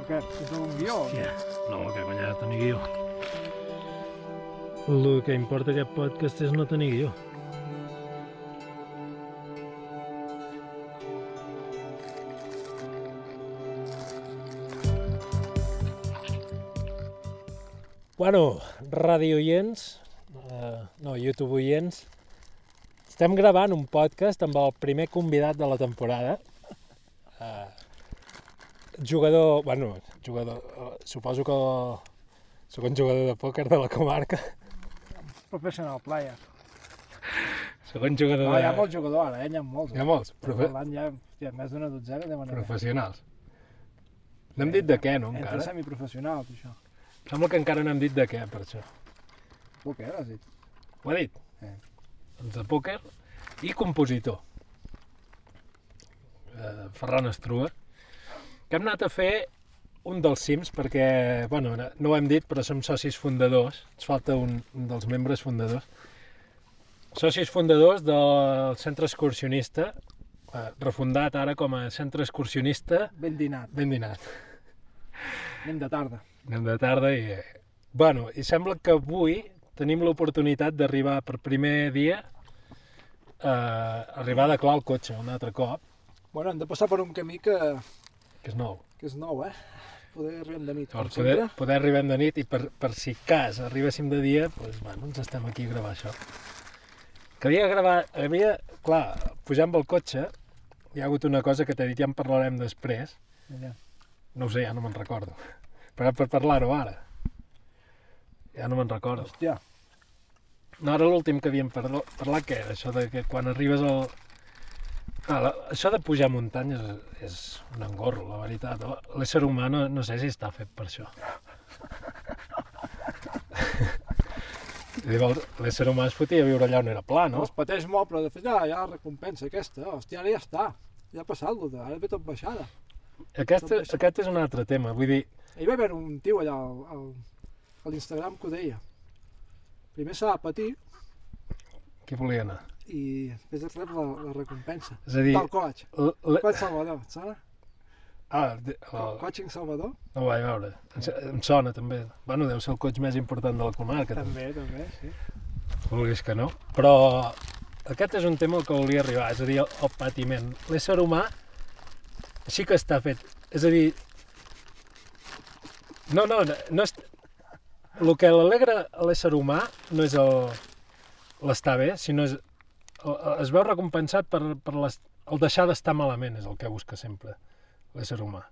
O què? És un guió? Hòstia, no, que conya de tenir guió. El que importa aquest podcast és no tenir guió. Bueno, ràdio oients, eh, no, YouTube oients, estem gravant un podcast amb el primer convidat de la temporada. Eh, jugador, bueno, jugador, eh, suposo que sóc un jugador de pòquer de la comarca. Professional player. Sóc un jugador No, hi ha molts jugadors ara, eh? N'hi ha molts. Hi ha molts, Però profe- L'any hi ha hòstia, més d'una dotzena de manera. professionals. No hem dit de què, no, Entre encara? semiprofessionals, això. Sembla que encara no hem dit de què, per això. Tu què has dit? Ho ha dit? Eh. Doncs de pòquer i compositor. Eh, Ferran Estruga. Que hem anat a fer un dels cims perquè, bueno, no no ho hem dit, però som socis fundadors. Ens falta un, un dels membres fundadors. Socis fundadors del centre excursionista, eh, refundat ara com a centre excursionista Ben dinat. ben dinat. Anem de tarda. Anem de tarda i... Bueno, i sembla que avui tenim l'oportunitat d'arribar per primer dia eh, arribar a declarar el cotxe un altre cop, Bueno, hem de passar per un camí que, que és nou. que és nou, eh? Poder arribem de nit, Per poder, eh? poder arribar de nit i per, per si cas arribéssim de dia, doncs, bueno, ens estem aquí a gravar això. Que havia gravat, havia, clar, pujar amb el cotxe, hi ha hagut una cosa que t'he dit, ja en parlarem després, Mira, no ho sé, ja no me'n recordo, però per parlar-ho ara, ja no me'n recordo. hòstia, No, ara l'últim que havíem parlo- parlat, que era això de que quan arribes al... Ah, la, això de pujar muntanyes és, és un engorro, la veritat. L'ésser humà no, no sé si està fet per això. Diu, el- L'ésser humà es fotia a viure allà on era pla, no? no? es Doncs pateix molt, però de fet ja, ja la recompensa aquesta, hòstia, ara ja està. Ja ha passat, l'altre, ara ve tot baixada. Aquest, aquest és un altre tema, vull dir, Hi va haver un tio allà al, al, a l'Instagram que ho deia. Primer s'ha de patir qui volia anar? i després et rep la, la recompensa. És a dir, Tal coach. l- l- Coach Salvador, et sona? ah, de- Oh. el, Coaching Salvador? no ho vaig veure, em, s- em sona també. Bueno, deu ser el cotxe més important de la comarca. També, També. també, sí. vulguis que no. Però aquest és un tema al que volia arribar, és a dir, el, el patiment. L'ésser humà sí que està fet. És a dir, no, no, no, no és... El que l'alegra a l'ésser humà no és el l'estar bé, sinó és, el- es veu recompensat per, per les, el deixar d'estar malament, és el que busca sempre l'ésser humà.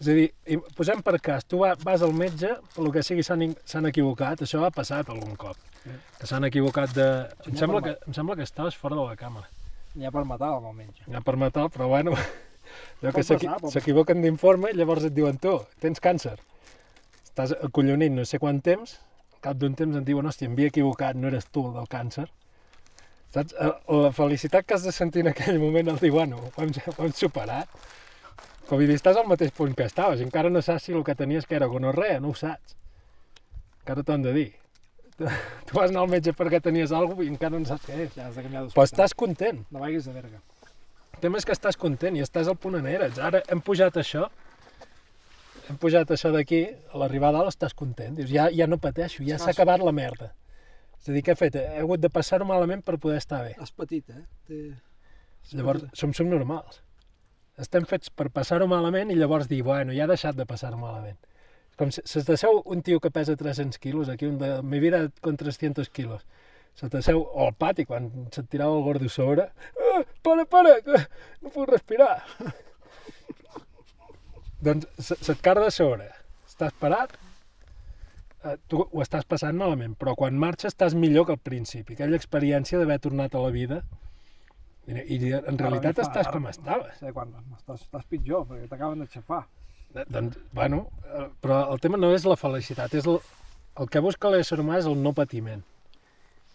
És a dir, i posem per cas, tu va- vas al metge, pel que sigui s'han in- s'han equivocat, això ha passat algun cop que s'han equivocat de... Em no sembla, que, per em sembla que estaves fora de la càmera. N'hi ha per matar el menja. Ja per matar, però bueno... Allò Pot que s'equi- passar, pot s'equivoquen d'informe i llavors et diuen tu, tens càncer. Estàs acollonint no sé quant temps, al cap d'un temps et diuen, hòstia, em havia equivocat, no eres tu el del càncer. Saps? Eh, La felicitat que has de sentir en aquell moment el dir, bueno, ho hem, ho hem superat. Com dir, estàs al mateix punt que estaves, i encara no saps si el que tenies que era gonorrea, no ho saps. Encara t'ho han de dir. Tu, tu vas anar al metge perquè tenies alguna cosa i encara no saps què és. Ja has de canviar d'hospital. Però estàs content. No vaguis de verga. El tema és que estàs content i estàs al punt on eres. Ara hem pujat això, hem pujat això d'aquí, a l'arribar a dalt estàs content. Dius, ja, ja no pateixo, ja s'ha Estàs- acabat la merda. És a dir, què he fet? He hagut de passar-ho malament per poder estar bé. Has patit, eh? Té... Llavors, som subnormals. Estem fets per passar-ho malament i llavors dir, bueno, ja he deixat de passar-ho malament. És Com si, se t'asseu un tio que pesa 300 quilos, aquí un de mi vida con 300 quilos, se t'asseu, o al pati, quan se't tirava el gordo a sobre, ah, para, para, que no puc respirar. doncs se, se't carda a sobre, estàs parat, eh, tu ho estàs passant malament, però quan marxes estàs millor que al principi. Aquella experiència d'haver tornat a la vida i, i en realitat fa- estàs ara- com estaves. No sé quan, estàs, estàs pitjor, perquè t'acaben de xafar. Eh, Doncs, bueno, eh, però el tema no és la felicitat, és el, el que busca l'ésser humà és el no patiment.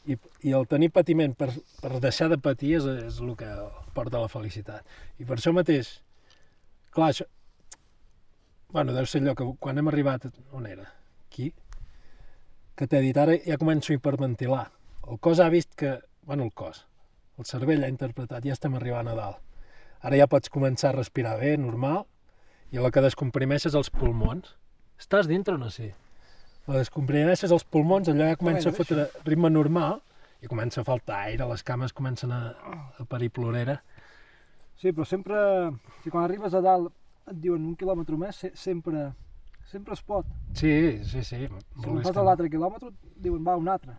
I, i el tenir patiment per, per deixar de patir és, és el que porta a la felicitat. I per això mateix, clar, això, bueno, deu ser allò que quan hem arribat, on era? Aquí? Que t'he dit, ara ja començo a hiperventilar. El cos ha vist que, bueno, el cos, el cervell ha interpretat, ja estem arribant a dalt. Ara ja pots començar a respirar bé, normal, I la que descomprimeixes els pulmons. Estàs dintre o no sé? La descomprimeixes els pulmons, allò ja comença a Bueno, fotre ritme normal i comença a faltar aire, les cames comencen a, a parir plorera. Sí, però sempre, si quan arribes a dalt et diuen un quilòmetre més, se- sempre, sempre es pot. Sí, sí, sí. Si no vulguis fas a que no. l'altre quilòmetre, et diuen va, un altre.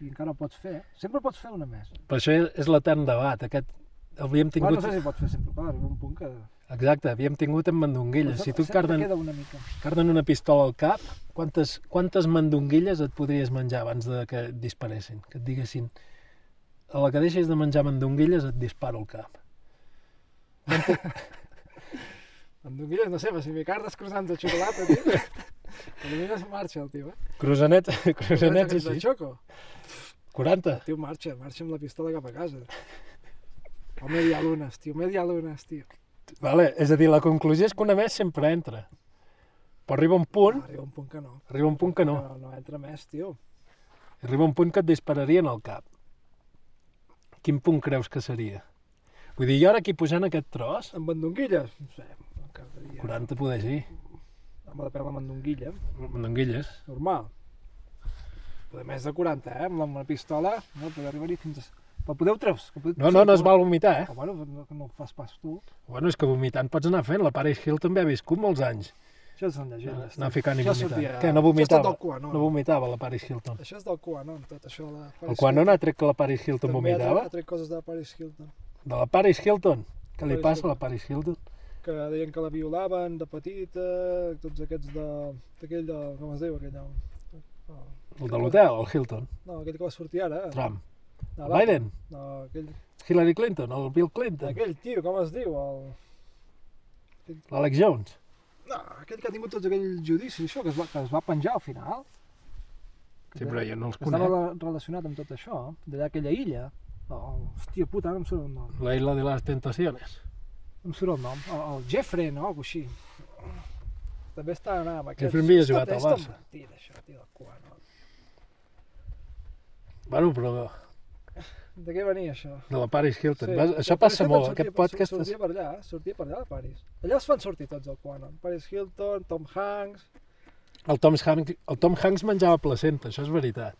I encara pots fer. Sempre pots fer una més. Per això és l'etern debat. Aquest, havíem Tingut... no tingut... sé si pots fer sempre, clar, arriba un punt que... Exacte, havíem tingut en mandonguilles. Si tu et sempre carden, queda una mica. carden una pistola al cap, quantes, quantes mandonguilles et podries menjar abans de que et disparessin? Que et diguessin, a la que deixis de menjar mandonguilles et disparo al cap. Mandonguilles, no sé, però si m'hi cardes croissants de xocolata, tio, potser es marxa el tio, eh? Cruzanets, Croissants cruzanets de així, xoco. 40. Tio, marxa, marxa amb la pistola cap a casa. O media lunes, tio, media lunes, tio. Vale, és a dir, la conclusió és que una més sempre entra. Però arriba un punt, Arriba un punt que no. arriba un punt que no. No, no entra més, tio. Arriba un punt que et dispararien al cap. Quin punt creus que seria? Vull dir, jo ara aquí posant aquest tros, Amb mandonguilles? No sé, cardaria. 40 poder sí, Amb la pèl de mandonguilla, mandonguilles. normal. Poder més de 40, eh? Amb una pistola, No, però arribar-hi fins a... Però podeu treus. Que podeu... No, no, no es val vomitar, eh? Ah, Però bueno, no, que no ho fas pas tu. Bueno, és que vomitant pots anar fent. La Paris Hill també ha viscut molts anys. Això són llegendes. Anar ficant i Això vomitant. sortia- Que això no és vomitava? del QAnon. No vomitava la Paris Hilton. Això és del QAnon, tot això de la El quan no ha tret que la Paris Hilton També ha tret- vomitava? ha tret coses de Paris Hilton, De la Paris Hilton? Què li Paris passa a la Paris Hilton? que deien que la violaven de petita, tots aquests de... d'aquell de... com es diu, aquell de... El de l'hotel, el Hilton. No, aquell que va sortir ara. eh? Trump. No, El l'altre. Biden. No, aquell, Hillary Clinton. El Bill Clinton. aquell tio, com es diu? El... L'Alex Jones. No, aquell que ha tingut tots aquells I judicis. això que es, va, que es va penjar al final, Sí, però jo no els que estava conec. re- relacionat amb tot això, d'allà aquella illa. Oh, hòstia puta, ara em surt el nom. La isla de las tentaciones. Em surt el nom. El, el Oh, Jeffrey, no? Algo així. També està anant amb aquests. Jeffrey Mbia ha jugat Tot al és tot Barça. mentida, això, tio, del QAnon. Bueno, però De què venia això? de la Paris Hilton. Sí. Vas, La això Paris passa Hilton molt. sortia- Aquest podcast... sur- és- Sortia per allà, sortia per allà de Paris. Allà els fan sortir tots del QAnon. Paris Hilton, Tom Hanks... El Tom, Hanks, el Tom Hanks menjava placenta, això és veritat.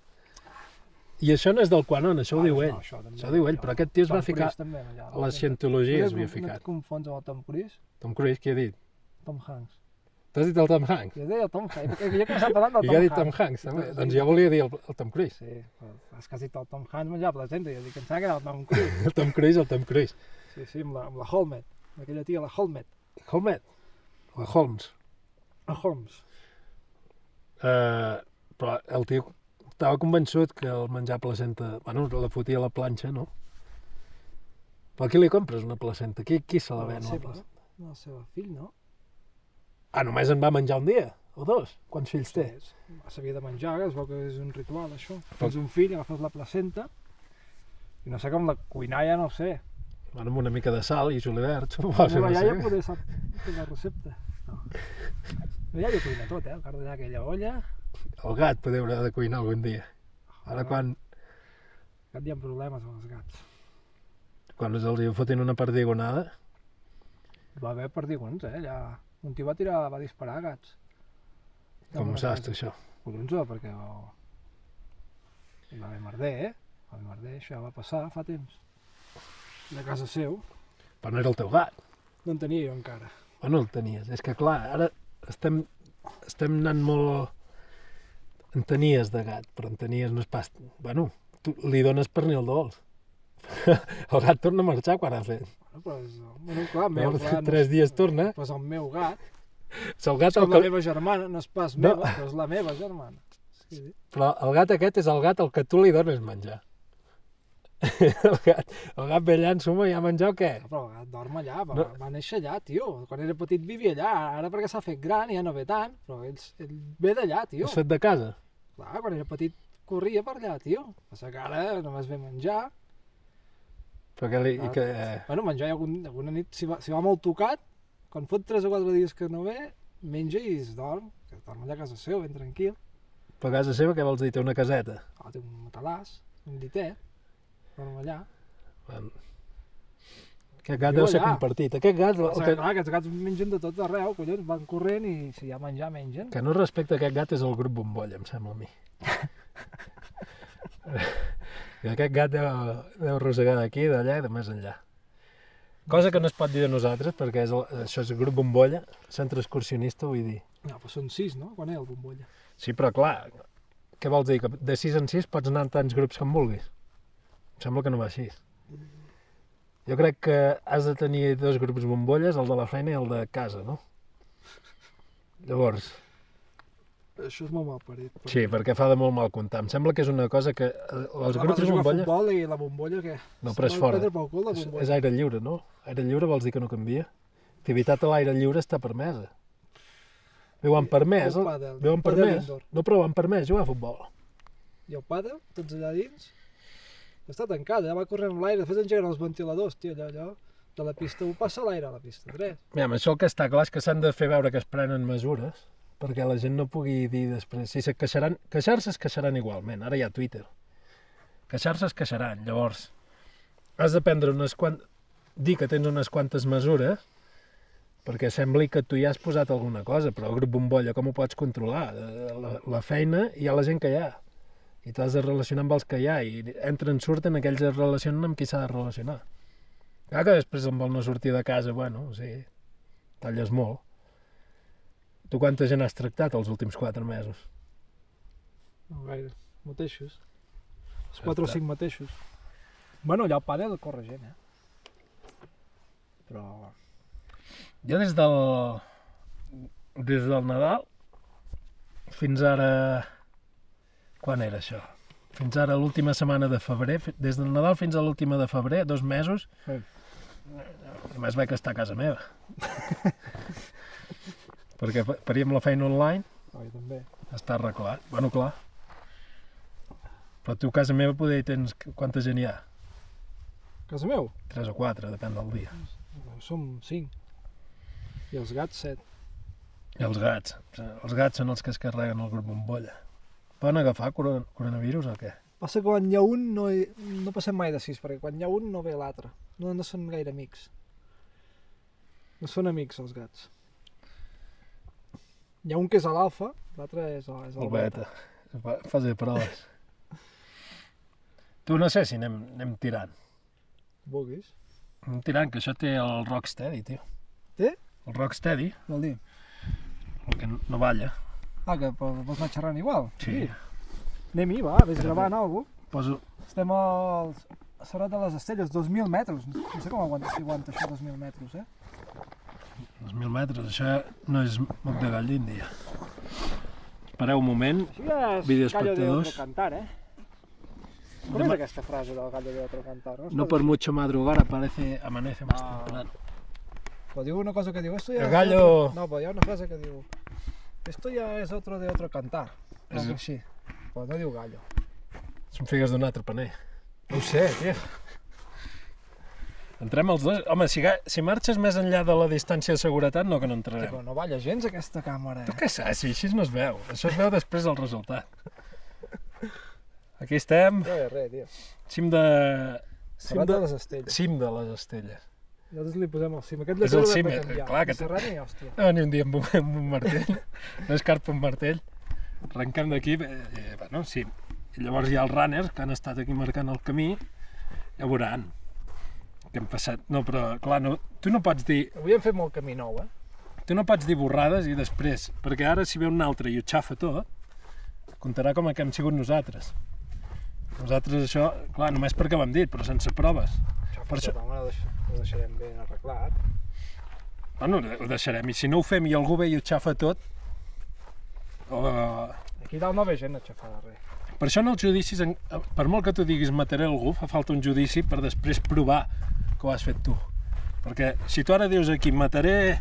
I això no és del Quanon, això ho diu ell. això, també, Això ho diu ell, però aquest tio es va Tom ficar... Cruise també, allà. A e la cientologia es havia No ficat. et confons amb el Tom Cruise? Tom Cruise, qui ha dit? Tom Hanks. T'has dit el Tom Hanks? Jo deia el Tom Hanks, perquè jo he començat parlant del I Tom jo he Hanks. dit E Tom Hanks, també. Sí. Doncs jo volia dir el, el Tom Cruise. Sí, però és que has dit el Tom Hanks menjava placenta, i jo dic, em sembla que era el Tom Cruise. El Tom Cruise, el Tom Cruise. Sí, sí, amb la, amb la Holmet, amb aquella tia, la Holmet, Holmes. O Holmes. Ah. la Holmes. Eh, però el tio estava convençut que el menjar placenta... Bueno, la fotia a la planxa, no? Però qui li compres una placenta? Qui, qui se la No, ven? la La seva. placenta? Ah, No, el seu fill, no? Ah, només en va menjar un dia? O dos? Quants fills té? S'havia de menjar, que es veu que és un ritual, això. Tens un fill, agafes la placenta, i no sé com la cuinaia, no ho sé. Bueno, amb una mica de sal i julivert, La suposo. meva Ah, No iaia sé. poder sap fer la recepta. No. La iaia cuina tot, eh? Guarda allà aquella olla, El gat poder haurà de cuinar algun dia. Ah. Ara quan, que hi ha problemes amb els gats. quan els hi fotin una perdigonada, Hi Va haver perdigons, eh? Allà. Un tio va tirar, va disparar a gats. com ho Una casa. saps, tu, això? Collonzó, eh, perquè va... hi va haver merder, eh? Va haver merder, això va passar fa temps. De casa seu, Però no era el teu gat. no en tenia jo encara. Bueno, el tenies. És que, clar, ara estem, estem anant molt... En tenies de gat, però en tenies no és pas... Bueno, tu li dones pernil dolç. el gat torna a marxar quan ha fet. Bueno, però és... Bueno, clar, el meu Llavors, gat... tres dies torna. No, però és el meu gat, Si el gat, és el com la que, meva germana, no és pas No. meva, però és la meva germana. Sí, sí. però el gat aquest és el gat al que tu li dones menjar. el gat, el gat ve allà en suma i ha menjar o què? Ah, Però el gat dorm allà, va, No. va néixer allà, tio. Quan era petit vivia allà, ara perquè s'ha fet gran ja no ve tant, però ell, ell ve d'allà, tio. Has fet de casa? Clar, quan era petit corria per allà, tio. Passa que ara només ve menjar, Però que li, i Ah. que... eh, Bueno, menjar hi ha algun, alguna nit, si va, si va molt tocat, quan fot 3 o 4 dies que no ve, menja i es dorm, que es dorm allà a casa seu, ben tranquil. Però a casa seva què vols dir? Té una caseta? Ah, té un matalàs, un ditet, dorm allà. Bueno, Aquest gat Viu deu ser allà. compartit. Aquest gat, O el sigui, que, clar, aquests gats mengen de tot arreu, collons, van corrent i si hi ha menjar, mengen. que no respecta aquest gat és el grup Bombolla, em sembla a mi. I aquest gat deu, deu rosegar d'aquí, d'allà i de més enllà. Cosa que no es pot dir de nosaltres, perquè és el, això és el grup Bombolla, centre excursionista, vull dir. No, però són sis, no? Quan és el bombolla? Sí, però clar, què vols dir? Que de 6 en 6 pots anar en tants grups com vulguis. Em sembla que no va així. Jo crec que has de tenir dos grups bombolles, el de la feina i el de casa, no? Llavors, Això és molt mal parit. però- sí, perquè fa de molt mal comptar. Em sembla que és una cosa que eh, els Clar, vas grups a jugar a bombolles... futbol i la bombolla què? No, però és Vol fora. prendre pel cul, la És, bombolla. és aire lliure, no? Aire lliure vols dir que no canvia? Activitat a l'aire lliure està permesa. Veuen permès, El el- pàdel, veuen pàdel permès, indoor. no però van permès jugar a futbol. I el pàdel, tots allà dins, està tancat, allà va corrent l'aire, després engeguen els ventiladors, tio, allò, allò, de la pista 1 passa l'aire a la pista 3. Mira, amb això el que està clar és que s'han de fer veure que es prenen mesures perquè la gent no pugui dir després... Si se queixaran... Queixar-se es queixaran igualment, ara hi ha Twitter. Queixar-se es queixaran, llavors has de prendre unes quant... dir que tens unes quantes mesures perquè sembli que tu ja has posat alguna cosa, però el grup bombolla com ho pots controlar? Eh, La, la feina hi ha la gent que hi ha i t'has de relacionar amb els que hi ha i entren, surten, aquells es relacionen amb qui s'ha de relacionar. Clar que després amb el no sortir de casa, bueno, o sigui, talles molt. Tu quanta gent has tractat els últims 4 mesos? No gaire, mateixos. Els 4 o 5 mateixos. Bueno, allà al pàdel corre gent, eh? Però... Jo des del... des del Nadal fins ara... Quan era això? Fins ara l'última setmana de febrer, fi- des del Nadal fins a l'última de febrer, dos mesos, Sí. només vaig estar a casa meva. Perquè fa- faríem la feina online Oi, també. Està arreglat. Bueno, clar. Però tu a casa meva poder hi tens quanta gent hi ha? Casa meu? 3 o 4, depèn del dia. Som 5. I els gats 7. I els gats. Els gats són els que es carreguen el grup bombolla. Poden agafar coron coronavirus o què? Passa que quan hi ha un no, hi- no passem mai de sis, perquè quan hi ha un no ve l'altre. No, no són gaire amics. No són amics els gats. Hi ha un que és a l'alfa, l'altre és, a- és El beta. Fa- Fas de proves. tu no sé si anem, anem tirant. Vulguis. Anem tirant, que això té el Rocksteady, tio. Té? El Rocksteady, Vol dir? el que no balla. Ah, que pots anar xerrant igual? Sí. Anem-hi, va, vés gravant alguna Poso... Estem als... a Serrat de les Estelles, 2.000 metres. No sé com aguanta, si aguanta això 2.000 metres, eh? 2.000 metres, això no és moc de gall d'Índia. Pareu un moment, Això ja és Videoespectadors. Gallo de otro cantar, eh? Com Demà- és aquesta frase del Gallo de otro cantar? No, No por mucho madrugar aparece, amanece más Ah. temprano. Però diu una cosa que diu... Esto ya El es gallo- otro-" No, però hi ha una frase que diu... Esto ya es otro de otro cantar. És- És així. Però no diu gallo. Són figues d'un altre paner. No ho sé, tio. Entrem els dos. Home, si, ga- si marxes més enllà de la distància de seguretat, no que no Sí, entrarem. però no balla gens aquesta càmera, eh? Què saps? Si així no es veu. Això es veu després del resultat. Aquí estem, No és res, tio. cim de... Cim Serrat de, de les Estelles. cim de les estelles. Nosaltres li posem el cim. Aquest És el l'hem de cim, eh, canviar. clar que Ni Serrat ni hòstia. No, Ah, ni un dia amb un, amb un martell. No escarpa un martell. Arrenquem d'aquí, eh, eh, bueno, sí. I llavors hi ha els runners que han estat aquí marcant el camí. Ja veuran que hem passat. No, però clar, no, tu no pots dir Avui hem fet molt camí nou, eh? tu no pots dir borrades i després, perquè ara si ve un altre i ho xafa tot, comptarà com a que hem sigut nosaltres. Nosaltres això, clar, només perquè ho hem dit, però sense proves. Per Per això- això... Home, ho deix- ho deixarem ben arreglat. Bueno, ho deixarem, i si no ho fem i algú ve i ho xafa tot, o, Aquí dalt no ve gent a xafar de res. Per això en els judicis, en- eh, per molt que tu diguis mataré algú, fa falta un judici per després provar que ho has fet tu. Perquè si tu ara dius aquí mataré el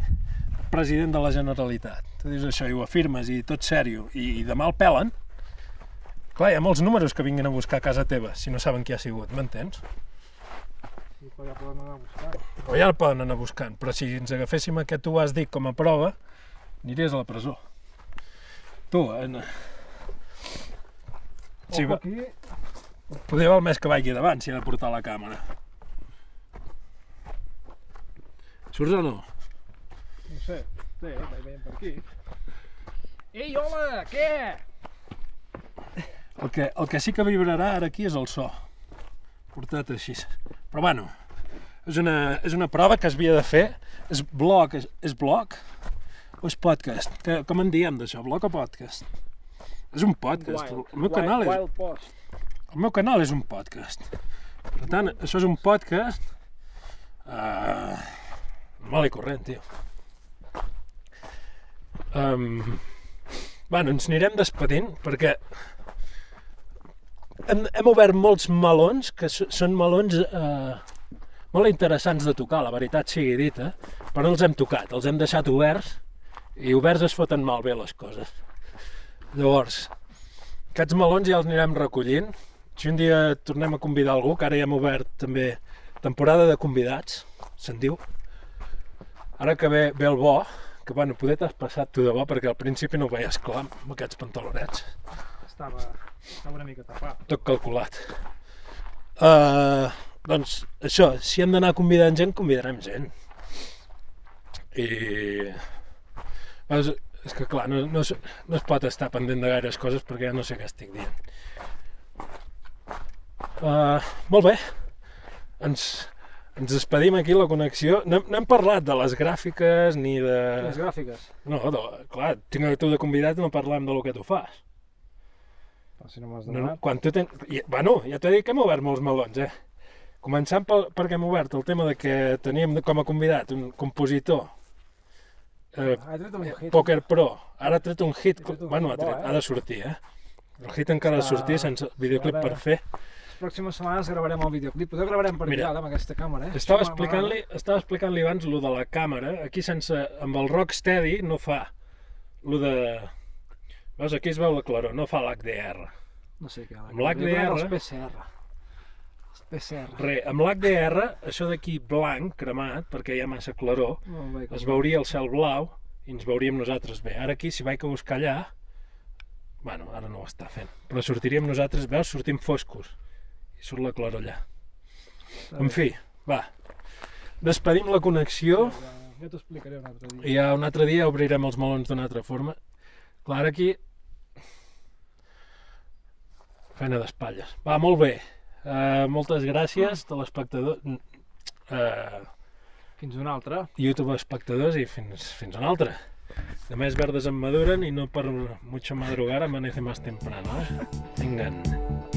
president de la Generalitat, tu dius això i ho afirmes i tot sèrio, i, i demà el pelen, clar, hi ha molts números que vinguin a buscar a casa teva si no saben qui ha sigut, m'entens? I però ja podem anar a buscar. O ja el poden anar buscant, però si ens agaféssim a que tu has dit com a prova, aniries a la presó. Tu, en... Sí, Ojo va- aquí, Poder val més que vagi davant si ha de portar la càmera. Surts o no? No sé. Sí, veiem per aquí. Ei, hola, què? El que, el que sí que vibrarà ara aquí és el so. Portat així. Però bueno, és una, és una prova que es havia de fer. És blog, és, és blog o és podcast? Que, com en diem d'això, blog o podcast? És un podcast. el meu canal és, Wild Post. el meu canal és un podcast. Per tant, això és un podcast... Uh, mal i corrent, tio. Um, bueno, ens anirem despedint perquè hem, hem obert molts melons que s- són melons eh, molt interessants de tocar, la veritat sigui dita, però no els hem tocat, els hem deixat oberts i oberts es foten malbé les coses. Llavors, aquests melons ja els anirem recollint. Si un dia tornem a convidar algú, que ara ja hem obert també temporada de convidats, se'n diu. Ara que ve, ve el bo, que bueno, poder t'has passat tu de bo perquè al principi no ho veies clar amb aquests pantalonets. Estava, estava una mica tapat. Tot calculat. Uh, doncs això, si hem d'anar convidant gent, convidarem gent. I... És, és que clar, no, no, es, no es pot estar pendent de gaires coses perquè ja no sé què estic dient. Uh, molt bé, ens, ens despedim aquí la connexió. No, hem- no hem parlat de les gràfiques ni de... Les gràfiques. No, de, clar, tinc tu de convidat i no parlem del que tu fas. Però si no m'has No, no, demanat. quan tu ten... I, bueno, ja t'he dit que hem obert molts melons, eh? Començant pel, perquè hem obert el tema de que teníem com a convidat un compositor, eh, Ah, he tret un hit. Poker Pro, ara ha tret un hit, Ha tret un bueno, ha, hit bo, tret, eh? ha de sortir, eh? El hit encara ha de Està- sortir sense videoclip ara- per fer. Les pròximes setmanes gravarem el videoclip. Potser gravarem per Mira, allà amb aquesta càmera, eh? Estava Això m'agrada. explicant-li estava explicant-li abans lo de la càmera, aquí sense amb el Rocksteady no fa lo de Veus, aquí es veu la claror, no fa l'HDR. No sé què. Amb l'HDR. Els PCR. Els PCR. Re, amb l'HDR, això d'aquí blanc, cremat, perquè hi ha massa claror, No em veig es com- veuria el cel blau i ens veuríem nosaltres bé. Ara aquí, si vaig a buscar allà, bueno, ara no ho està fent, però sortiríem nosaltres, veus, sortim foscos i surt la claror allà. En fi, va, despedim la connexió Ja- Ja t'ho explicaré un altre dia. i ja un altre dia obrirem els melons d'una altra forma. Clar, ara aquí... Feina d'espatlles. Va, molt bé. Uh, moltes gràcies a l'espectador... Uh, Fins un altre. YouTube espectadors i fins, fins una altra. Demés verdes em maduren i no per mucho madrugar amanece más temprano. Eh? Vingan.